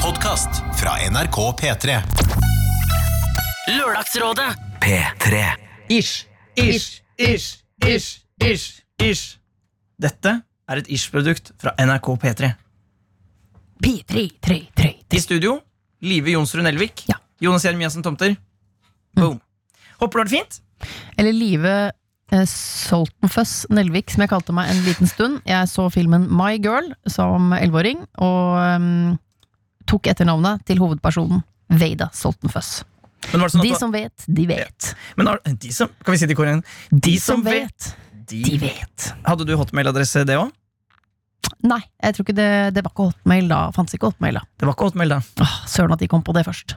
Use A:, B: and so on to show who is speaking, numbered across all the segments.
A: podkast fra NRK P3.
B: Lørdagsrådet.
C: P3.
D: Ish, ish, ish, ish, ish, ish. Dette er et ish-produkt fra NRK P3. I studio, Live Jonsrud Nelvik.
E: Ja.
D: Jonas Jeremiassen Tomter. Boom. Håper du har det fint.
E: Eller Live eh, Soltenfuss Nelvik, som jeg kalte meg en liten stund. Jeg så filmen My Girl som 11-åring, og ehm, tok etternavnet til hovedpersonen. Veida Soltenfuss.
D: Men, var det sånn
E: De
D: at du,
E: som vet, de vet.
D: men har, eh, de som, kan vi si det i koren? De, som, vet, de,
E: de vet.
D: Hadde du hotmail-adresse, det òg?
E: Nei, jeg tror ikke det, det var ikke hotmail da. Fantes ikke hotmail da.
D: Det var ikke hotmail, da.
E: Åh, søren at de kom på det først.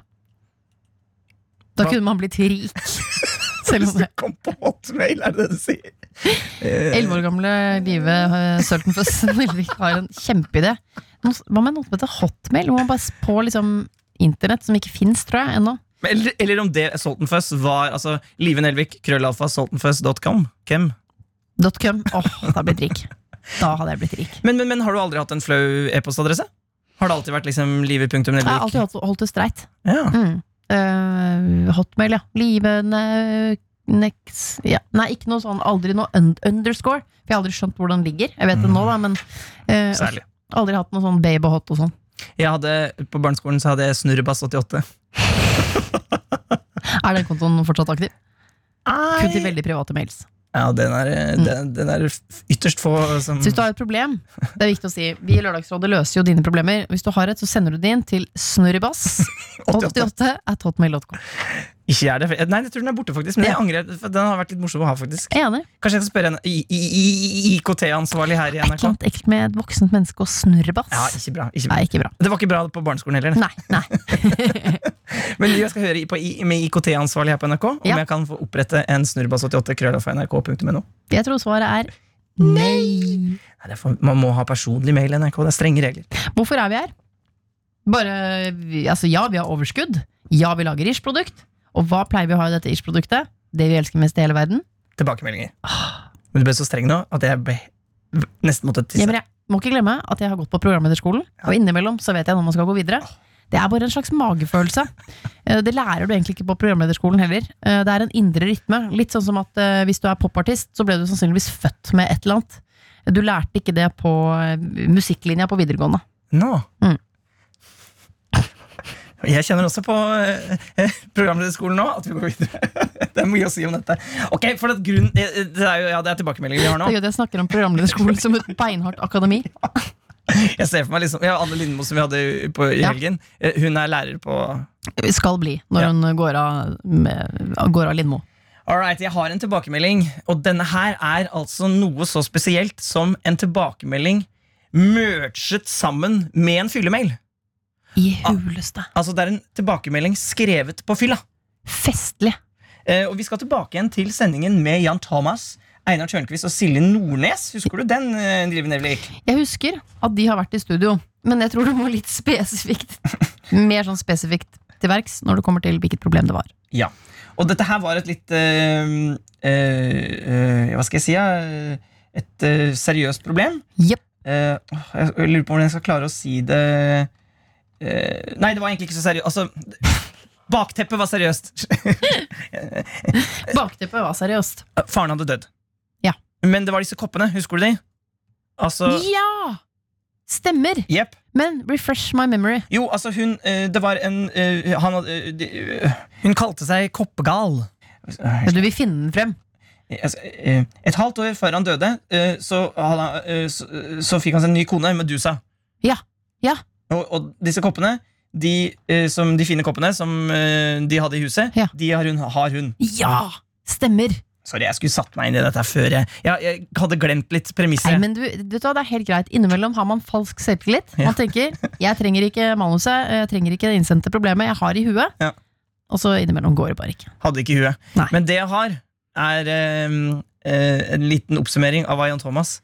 E: Da
D: Hva?
E: kunne man blitt rik. Selv om det
D: kom på hotmail, er det det du sier? Eh,
E: 11 år gamle Live eh, Søltenfuss Nelvik har en kjempeidé. Noe s- Hva med noe som heter hotmail? Hvor man bare s- på liksom internett, som ikke fins, tror jeg, ennå.
D: men eller, eller om det Soltenfuss var altså, Live Nelvik, krøllalfa, soltenfuss.com. Hvem?
E: .com. Åh, da hadde jeg blitt rik. Da hadde jeg blitt rik.
D: Men, men, men har du aldri hatt en flau e-postadresse? Har det alltid vært liksom live.nelvik?
E: Jeg har alltid holdt, holdt det streit.
D: Ja.
E: Mm. Eh, hotmail, ja. Live ne- Nex ja. Nei, ikke noe sånn, aldri noe un underscore. For jeg har aldri skjønt hvor den ligger. Jeg vet det nå, da, men eh,
D: Særlig.
E: aldri hatt noe sånn babyhot og sånn.
D: Jeg hadde, på barneskolen så hadde jeg snurrebass88.
E: Er den kontoen fortsatt aktiv? Kun til
D: Nei.
E: veldig private mails.
D: Ja, den er, eh, den, den er f- ytterst få som
E: Mm. Så hvis du har et problem, det er viktig å si Vi i Lørdagsrådet løser jo dine problemer. Hvis du har et, så sender du det inn til snurrebass88 at hotmail.com.
D: ikke gjør det. Nei, jeg tror den er borte, faktisk. Men jeg angrer, for den har vært litt morsom å ha, faktisk.
E: Jeg er Enig.
D: Kanskje jeg skal spørre en I- I- I- I- IKT-ansvarlig her i
E: Er
D: NRK?
E: ikke det ekkelt med et voksent menneske og snurrebass?
D: Ja, ikke bra, ikke bra.
E: Nei, ikke bra.
D: Det var ikke bra på barneskolen heller.
E: Nei, nei.
D: Men jeg skal høre på, i- med IKT-ansvarlig her på NRK om
E: Ja.
D: jeg kan få opprette en snurrebass88 krøllalfa nrk.no.
E: Jeg tror svaret er nei.
D: Nei, det er for- Man må ha personlig mail i NRK. Det er strenge regler.
E: Hvorfor er vi her? Bare vi- Altså, ja, vi har overskudd. Ja, vi lager ish-produkt. Og hva pleier vi å ha i dette ish-produktet? Det vi elsker mest i hele verden?
D: Tilbakemeldinger. Men du ble så streng nå at jeg ble nesten måtte
E: Ja,
D: tisse.
E: men jeg må ikke glemme at jeg har gått på programlederskolen, og innimellom så vet jeg når man skal gå videre. Det er bare en slags magefølelse. Eh, Det lærer du egentlig ikke på programlederskolen heller. Eh, Det er en indre rytme. Litt sånn som at eh, hvis du er popartist, så ble du sannsynligvis født med et eller annet. Du lærte ikke det på eh, musikklinja på videregående.
D: Nå.
E: Mm.
D: Jeg kjenner også på eh, programlederskolen nå at vi går videre. Det er mye å si om dette. Ok, for at grunn, eh, eh, Det er jo ja, det er tilbakemeldinger vi har
E: Det
D: nå.
E: gjør at jeg snakker om programlederskolen som et beinhardt akademi.
D: Jeg ser for meg liksom, ja, Anne Lindmo, som vi hadde på, i
E: Ja.
D: helgen, eh, hun er lærer på
E: Skal bli, når
D: Ja.
E: hun går av, med, går av Lindmo.
D: All right, Jeg har en tilbakemelding, og denne her er altså noe så spesielt som en tilbakemelding merget sammen med en fyllemail.
E: I huleste.
D: Altså, det er en tilbakemelding skrevet på fylla.
E: Festlig.
D: Eh, og vi skal tilbake igjen til sendingen med Jan Thomas, Einar Tjørnquist og Silje Nordnes. Husker du den? eh, Drive Nevlik?
E: Jeg husker at de har vært i studio, men jeg tror du må litt spesifikt Mer sånn spesifikt til verks når det kommer til hvilket problem det var.
D: Ja. Og dette her var et litt eh, eh, eh, Hva skal jeg si? ja? Et eh, seriøst problem.
E: Jepp.
D: Eh, åh, jeg jeg lurer på hvordan jeg skal klare å si det Eh, Nei, det var egentlig ikke så seriøst. Altså, bakteppet var seriøst.
E: Bakteppet var seriøst.
D: Faren hadde dødd.
E: Ja.
D: Men det var disse koppene. Husker du de? Altså,
E: Ja! Stemmer!
D: jepp.
E: Men refresh my memory.
D: Jo, altså hun eh, Det var en eh, han, hadde, eh, de, eh, Hun kalte seg Koppegal.
E: Ja, du vil finne den frem.
D: Altså, eh, Et halvt år før han døde, eh, så, hadde han, eh, så, så fikk han seg en ny kone, Medusa.
E: Ja, ja.
D: Og, og disse koppene, de, eh, som, de fine koppene som eh, de hadde i huset,
E: Ja.
D: de har hun. Har hun.
E: Ja! Stemmer!
D: Sorry, jeg skulle satt meg inn i dette før. Jeg, jeg, jeg hadde glemt litt
E: Nei,
D: premisset.
E: men du, vet du, hva, Det er helt greit. Innimellom har man falsk selvtillit. Man tenker 'jeg trenger ikke manuset, jeg trenger ikke det innsendte problemet, jeg har i huet'.
D: Ja.
E: Og så innimellom går det bare ikke.
D: Hadde ikke huet.
E: Nei.
D: Men det jeg har, er eh, eh, en liten oppsummering av hva Jan Thomas,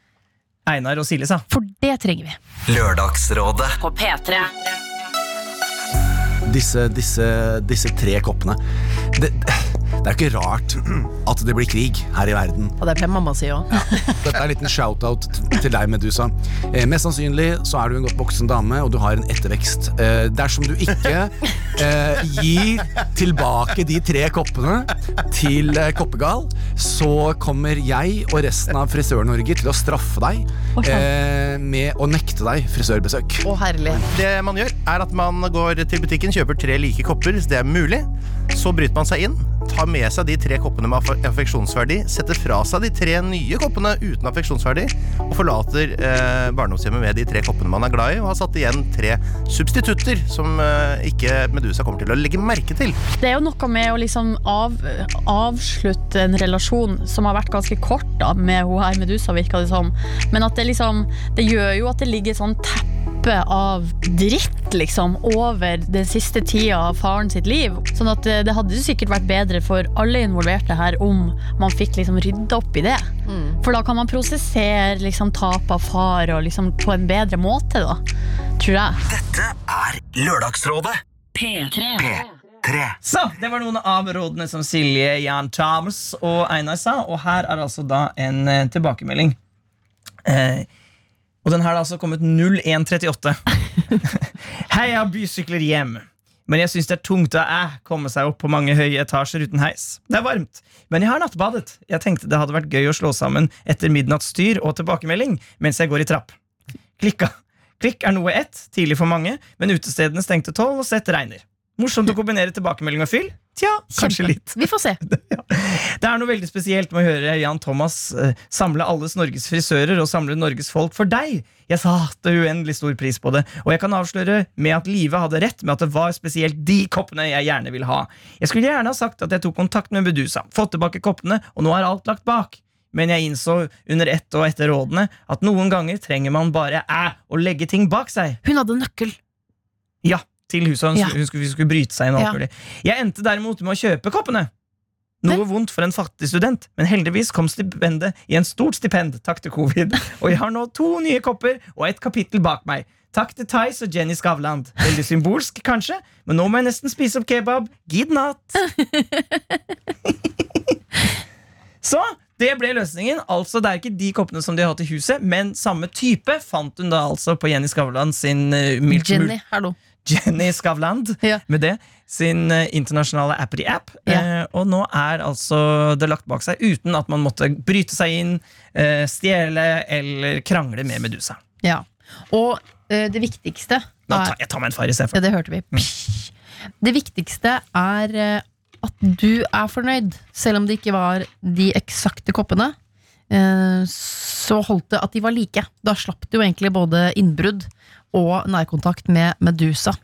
D: Einar og Silje sa.
E: For det trenger vi.
C: Lørdagsrådet.
B: På P3.
A: Disse, disse, disse tre koppene. Det,
B: Det er ikke rart at det blir krig her i verden.
E: Og det pleier mamma å si òg.
B: Dette er en liten shout-out t- til deg, Medusa. Eh, mest sannsynlig så er du en godt voksen dame, og du har en ettervekst. Eh, dersom du ikke eh, gir tilbake de tre koppene til eh, Koppegal, så kommer jeg og resten av Frisør-Norge til å straffe
E: Å,
B: deg eh, med å nekte deg frisørbesøk.
E: Å, herlig.
F: Det man gjør, er at man går til butikken, kjøper tre like kopper, hvis det er mulig. Så bryter man seg inn, tar med seg de tre koppene med affe- affeksjonsverdi, setter fra seg de tre nye koppene uten affeksjonsverdi, og forlater eh, barndomshjemmet med de tre koppene man er glad i, og har satt igjen tre substitutter som eh, ikke Medusa kommer til å legge merke til.
G: Det er jo noe med å liksom av, avslutte en relasjon som har vært ganske kort da, med hun her Medusa, virka det som. Men at det liksom Det gjør jo at det ligger et sånn teppe av dritt, liksom, over den siste tida av faren sitt liv. Sånn at eh, det hadde jo sikkert vært bedre for alle involverte her om man fikk liksom rydda opp i det. For da kan man prosessere liksom tap av far og liksom på en bedre måte, da. Tror jeg.
C: Dette er Lørdagsrådet. P3.
D: Så, Det var noen av rådene som Silje, Jan Thomas og Einar sa. Og her er altså da en eh, tilbakemelding. Eh, og den her har altså kommet 0138. Hei, jeg har bysykler hjem. Men jeg syns det er tungt å æ komme seg opp på mange høye etasjer uten heis. Det er varmt. Men jeg har nattbadet. Jeg tenkte det hadde vært gøy å slå sammen etter midnattsstyr og tilbakemelding mens jeg går i trapp. Klikka. Klikk er noe ett, tidlig for mange, men utestedene stengte tolv, og sett regner. Morsomt å kombinere tilbakemelding og fyll? Tja, kanskje
E: Kjempe.
D: litt.
E: Vi får se.
D: Det er noe veldig spesielt med å høre Jan Thomas eh, samle alles Norges frisører og samle Norges folk for deg. Jeg satte uendelig stor pris på det, og jeg kan avsløre med at Live hadde rett med at det var spesielt de koppene jeg gjerne vil ha. Jeg skulle gjerne ha sagt at jeg tok kontakt med Medusa, fått tilbake koppene, og nå er alt lagt bak. Men jeg innså under ett og etter rådene at noen ganger trenger man bare æ å legge ting bak seg.
E: Hun hadde nøkkel.
D: Ja, til huset hun,
E: Ja.
D: skulle, hun skulle, skulle bryte seg inn. og alt
E: Ja.
D: mulig. Jeg endte derimot med å kjøpe koppene. Noe vondt for en fattig student, men heldigvis kom stipendet i en stort stipend takk til covid. Og jeg har nå to nye kopper og et kapittel bak meg. Takk til Theis og Jenny Skavland. Veldig symbolsk, kanskje, men nå må jeg nesten spise opp kebab. Gid natt! Så det ble løsningen. Altså, Det er ikke de koppene som de har hatt i huset, men samme type fant hun da altså på Jenny Skavland sin uh, milk
E: Jenny, hallo.
D: Jenny Skavland
E: Ja.
D: med det. Sin eh, internasjonale Appity-app. Eh, og nå er altså det lagt bak seg uten at man måtte bryte seg inn, eh, stjele eller krangle med Medusa.
E: Ja. Og eh, det viktigste
D: Nå
E: er-
D: tar, jeg tar meg en far
E: Ja,
D: istedenfor.
E: det hørte vi. Psh. Det viktigste er eh, at du er fornøyd, selv om det ikke var de eksakte koppene. eh, Så holdt det at de var like. Da slapp du jo egentlig både innbrudd og nærkontakt med Medusa.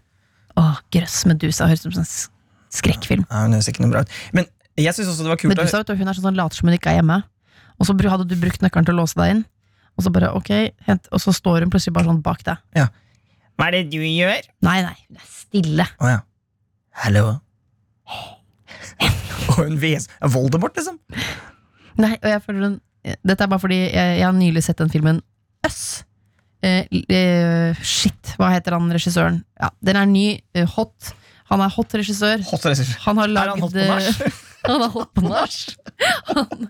E: Åh, grøss Medusa. Høres ut som en s- skrekkfilm.
D: Nei, men det ser ikke noe bra ut. Men jeg syns også det var kult å
E: Medusa vet du, hun er sånn som later som hun ikke er hjemme. Og så bru- hadde du brukt nøkkelen til å låse deg inn, og så bare ok, hent, og så står hun plutselig bare sånn bak deg.
D: Hva er det du gjør?
E: Nei, nei, hun er stille.
D: Å ja. Hallo. Og hun ves Voldemort, liksom.
E: Nei, og jeg føler den eh, Dette er bare fordi jeg, jeg har nylig sett den filmen Øss. Eh, eh, shit, hva heter han regissøren? Ja, den er ny, eh, hot. Han er hot regissør.
D: Hot resurs.
E: Han har
D: Er han
E: lagd
D: hot på nach?
E: Han er hot på nach. Han,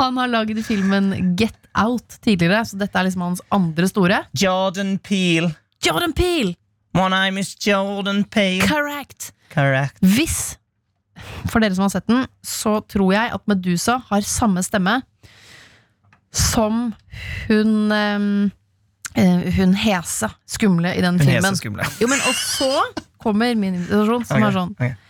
E: han har lagd filmen Get Out tidligere, så dette er liksom hans andre store.
D: Jordan Peel.
E: Jordan Peele!
D: My name is Jordan Peel.
E: Correct!
D: Correct.
E: Hvis, for dere som har sett den, så tror jeg at Medusa har samme stemme som hun ehm, eh, Hun hese skumle i den
D: Hun er så
E: filmen.
D: skummel.
E: Jo, men Og så kommer min invitasjon, som er sånn
D: Ok,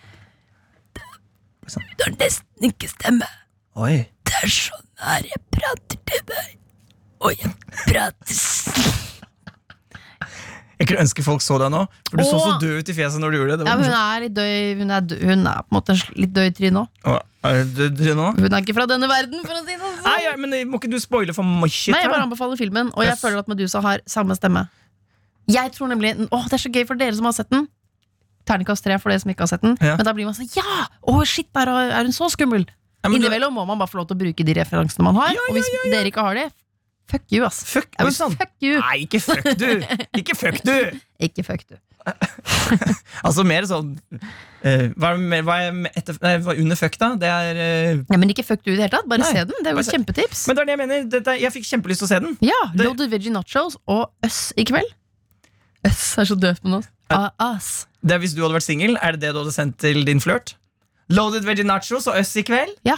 E: Du har nesten ikke stemme.
D: ok. Oi.
E: Det er sånn her jeg prater til deg. Og jeg prater s-
D: Jeg kunne ønske folk så deg nå, for du så så
E: Åh!
D: død ut i fjeset når du gjorde det. det
E: Ja, men
D: var
E: Hun er litt døy Hun er, dø- hun er på en måte litt døy i trynet òg.
D: morsomt. Åh, er du død nå?
E: Hun er ikke fra denne verden, for å si det sånn.
D: Nei, ja, men eh, Må ikke du spoile for mye?
E: Nei, jeg bare
D: da?
E: anbefaler filmen, og jeg
D: Yes.
E: føler at Medusa har samme stemme. Jeg tror nemlig Åh, det er så gøy for dere som har sett den. Terningkast tre for dere som ikke har sett den.
D: Ja.
E: Men da blir man sånn Ja! Åh, shit, der er er hun så skummel!
D: Ja, men du-
E: Innimellom må man bare få lov til å bruke de referansene man har.
D: Ja, ja,
E: og hvis dere ikke har de, Fuck you, ass.
D: Fuck,
E: Jeg
D: oi
E: vil
D: sann!
E: fuck you.
D: Nei, ikke fuck du! Ikke fuck du!
E: Ikke fuck du.
D: Altså mer sånn eh, Hva er det mer- hva er etter, nei, hva er under fuck, da? Det er eh,
E: Nei, men ikke fuck du i det hele tatt. Bare
D: Nei.
E: se den. Det er jo
D: Bare
E: et
D: se-
E: kjempetips.
D: Men det er det jeg mener. Dette, er- jeg fikk kjempelyst til å se den.
E: ja,
D: det-
E: Loaded Veggie Nachos og Øss i kveld. Øss er så døvt på nå. Ah, ass.
D: Det er Hvis du hadde vært singel, er det det du hadde sendt til din flørt? Loaded veggie nachos og øss i kveld?
E: Ja.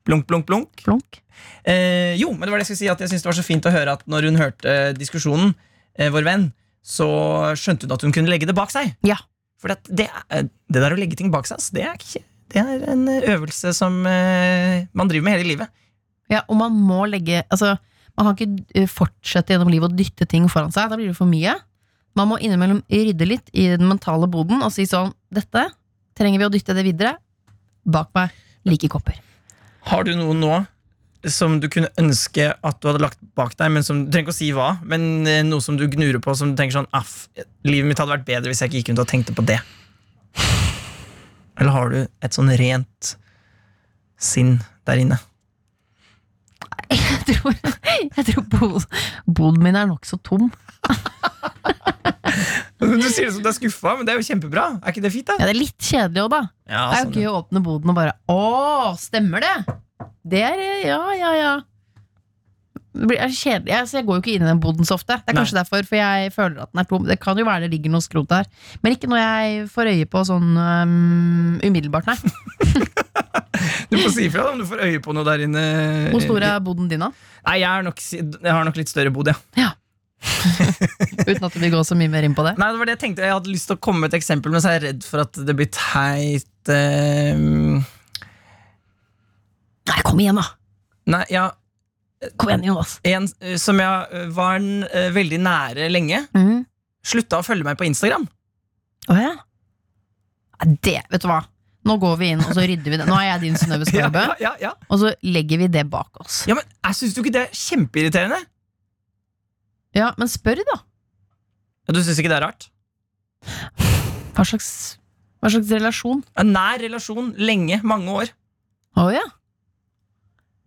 D: Blunk, blunk, blunk.
E: Flunk.
D: Eh, jo, men det var det jeg skulle si at jeg synes det var så fint å høre at når hun hørte eh, diskusjonen, eh, vår venn, så skjønte hun at hun kunne legge det bak seg.
E: Ja.
D: For det, det, er- det der å legge ting bak seg, ass, det er, ikke, det er en øvelse som eh, man driver med hele livet.
E: Ja, og man må legge Altså, man kan ikke eh, fortsette gjennom livet å dytte ting foran seg. Da blir det for mye. Man må innimellom rydde litt i den mentale boden og si sånn Dette trenger vi å dytte det videre. Bak meg. Like kopper.
D: Har du noe nå som du kunne ønske at du hadde lagt bak deg, men som, du trenger ikke å si hva, men eh, noe som du gnurer på, som du tenker sånn Aff, livet mitt hadde vært bedre hvis jeg ikke gikk rundt og tenkte på det. Eller har du et sånn rent sinn der inne?
E: Jeg tror, jeg tror bod, boden min er nokså tom.
D: Du sier det som du er skuffa, men det er jo kjempebra. Er ikke det fint, da?
E: Ja, Det er litt kjedelig òg, da.
D: Ja,
E: Det er jo gøy å åpne boden og bare Å, stemmer det? Det er Ja, ja, ja. Det blir- er kjedelig. Jeg, så jeg går jo ikke inn i den boden så ofte. Det er
D: Nei.
E: kanskje derfor, for jeg føler at den er tom. Det kan jo være det ligger noe skrot der. Men ikke når jeg får øye på sånn øhm, umiddelbart, nei.
D: Du får si ifra da, om du får øye på noe der inne.
E: Hvor stor er boden din, da?
D: Nei, jeg, er nok, si- jeg har nok litt større bod, ja.
E: Uten at du vil gå så mye mer inn på det.
D: Nei, det var det jeg tenkte. Jeg hadde lyst til å komme med et eksempel, men så er jeg redd for at det blir teit. eh,
E: Nei, kom igjen, da!
D: Nei, ja
E: Kom igjen, Jonas.
D: En eh, som jeg eh, var n- eh, veldig nære lenge,
E: Mm.
D: slutta å følge meg på Instagram.
E: Å ja? Nei, Det, vet du hva. Nå går vi inn, og så rydder vi det. Nå er jeg din Synnøve
D: Ja,
E: Skarbø,
D: ja, ja.
E: og så legger vi det bak oss.
D: ja, men jeg Syns du ikke det er kjempeirriterende?
E: Ja, men spør, da.
D: Ja, Du syns ikke det er rart?
E: Hva slags, hva slags relasjon?
D: En nær relasjon, lenge, mange år.
E: Å ja.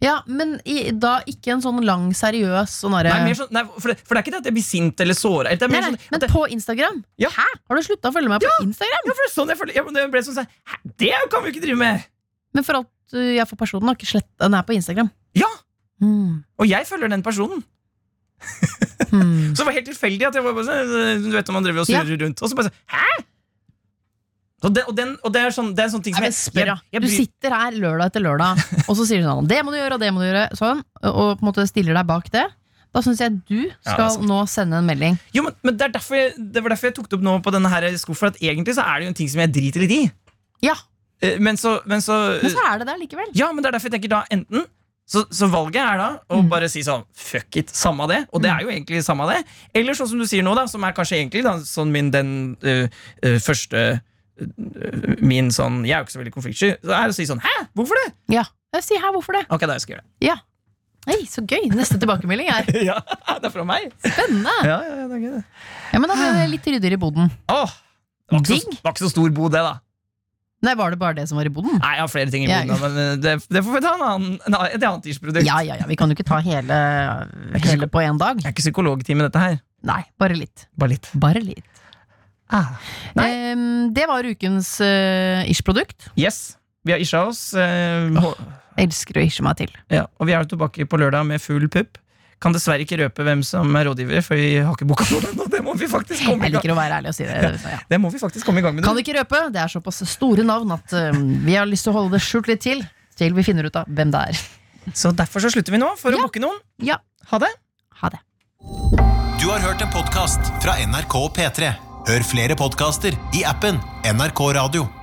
E: Ja, men i, da ikke en sånn lang, seriøs sånn
D: Nei,
E: derre-
D: mer sånn, nei, for, det, for det er ikke det at jeg blir sint eller såra. Det er
E: Nei,
D: mer
E: nei,
D: sånn,
E: men
D: at jeg-
E: på Instagram?
D: Ja.
E: Hæ? Har du slutta å følge meg på Instagram?
D: ja, for det er sånn jeg føler, ja, men det ble sånn, sånn, hæ, Det kan vi jo ikke drive med!
E: Men for alt uh, jeg får personen, har ikke slett, den er på Instagram.
D: Ja,
E: Hmm.
D: Og jeg følger den personen.
E: Hmm.
D: Så det var helt tilfeldig at jeg var bare sånn, Du vet når man driver og surrer rundt Og så bare sånn, hæ? Og det, og den, og det er sånn, det er sånn ting
E: Nei,
D: som jeg,
E: men spør, da.
D: jeg, jeg
E: Du
D: bryr-
E: sitter her lørdag etter lørdag, og så sier du sånn Det må du gjøre, og det må du gjøre, sånn, og på en måte stiller deg bak det. Da syns jeg du
D: Ja, altså. det er
E: skal
D: sant.
E: nå sende en melding.
D: Jo, men, men det, er derfor jeg, det var derfor jeg tok det opp nå på denne her skuffen. For at egentlig så er det jo en ting som jeg driter litt i.
E: Ja,
D: Eh, Men så, men så,
E: men så er det der likevel.
D: Ja, men det er derfor jeg tenker da enten så, så valget er da å
E: Mm.
D: bare si sånn fuck it, samme det. Og det er jo egentlig samme det. Eller sånn som du sier nå, da, som er kanskje egentlig da, sånn min den øh, øh, første øh, Min sånn Jeg er jo ikke så veldig konfliktsky. Så er det å si sånn hæ, hvorfor det?
E: Ja. Jeg sier her, hvorfor det?
D: Ok, da jeg skal gjøre det.
E: Hei, så gøy. Neste tilbakemelding er
D: ja, det er fra meg.
E: spennende.
D: Ja, ja, ja, det er gøy, det.
E: Ja, men da ble det litt ryddigere i boden.
D: Åh, det var ikke, så,
E: Digg.
D: det var ikke så stor bod, det, da.
E: Nei, var det bare det som var i boden?
D: Nei, jeg har flere ting i
E: Ja.
D: boden, da, men eh, det, det får vi ta en annen, en annen- et annet tidsprodukt.
E: Ja, ja, ja, vi kan jo ikke ta hele, hele på én dag.
D: Det er ikke psykologtime, dette her.
E: Nei, bare litt.
D: Bare litt.
E: Bare litt.
D: Ah. Nei.
E: Ehm, det var ukens eh, ish-produkt.
D: Yes, vi har isja oss, eh,
E: Elsker å ishe meg til.
D: ja, og vi er jo tilbake på lørdag med full pupp. Kan dessverre ikke røpe hvem som er rådgiver, for vi har ikke boka noen ennå. Det må vi faktisk komme i
E: Jeg
D: gang,
E: liker å være ærlig og si det. så Ja.
D: det må vi faktisk komme i gang med.
E: Kan ikke røpe. Det er såpass store navn at eh, vi har lyst til å holde det skjult litt til. Til vi finner ut av hvem det er.
D: Så derfor så slutter vi nå, for
E: Ja.
D: å booke noen.
E: Ja,
D: Ha det!
E: ha det.
A: Du har hørt en podcast fra NRK P3. Hør flere podcaster i appen NRK Radio.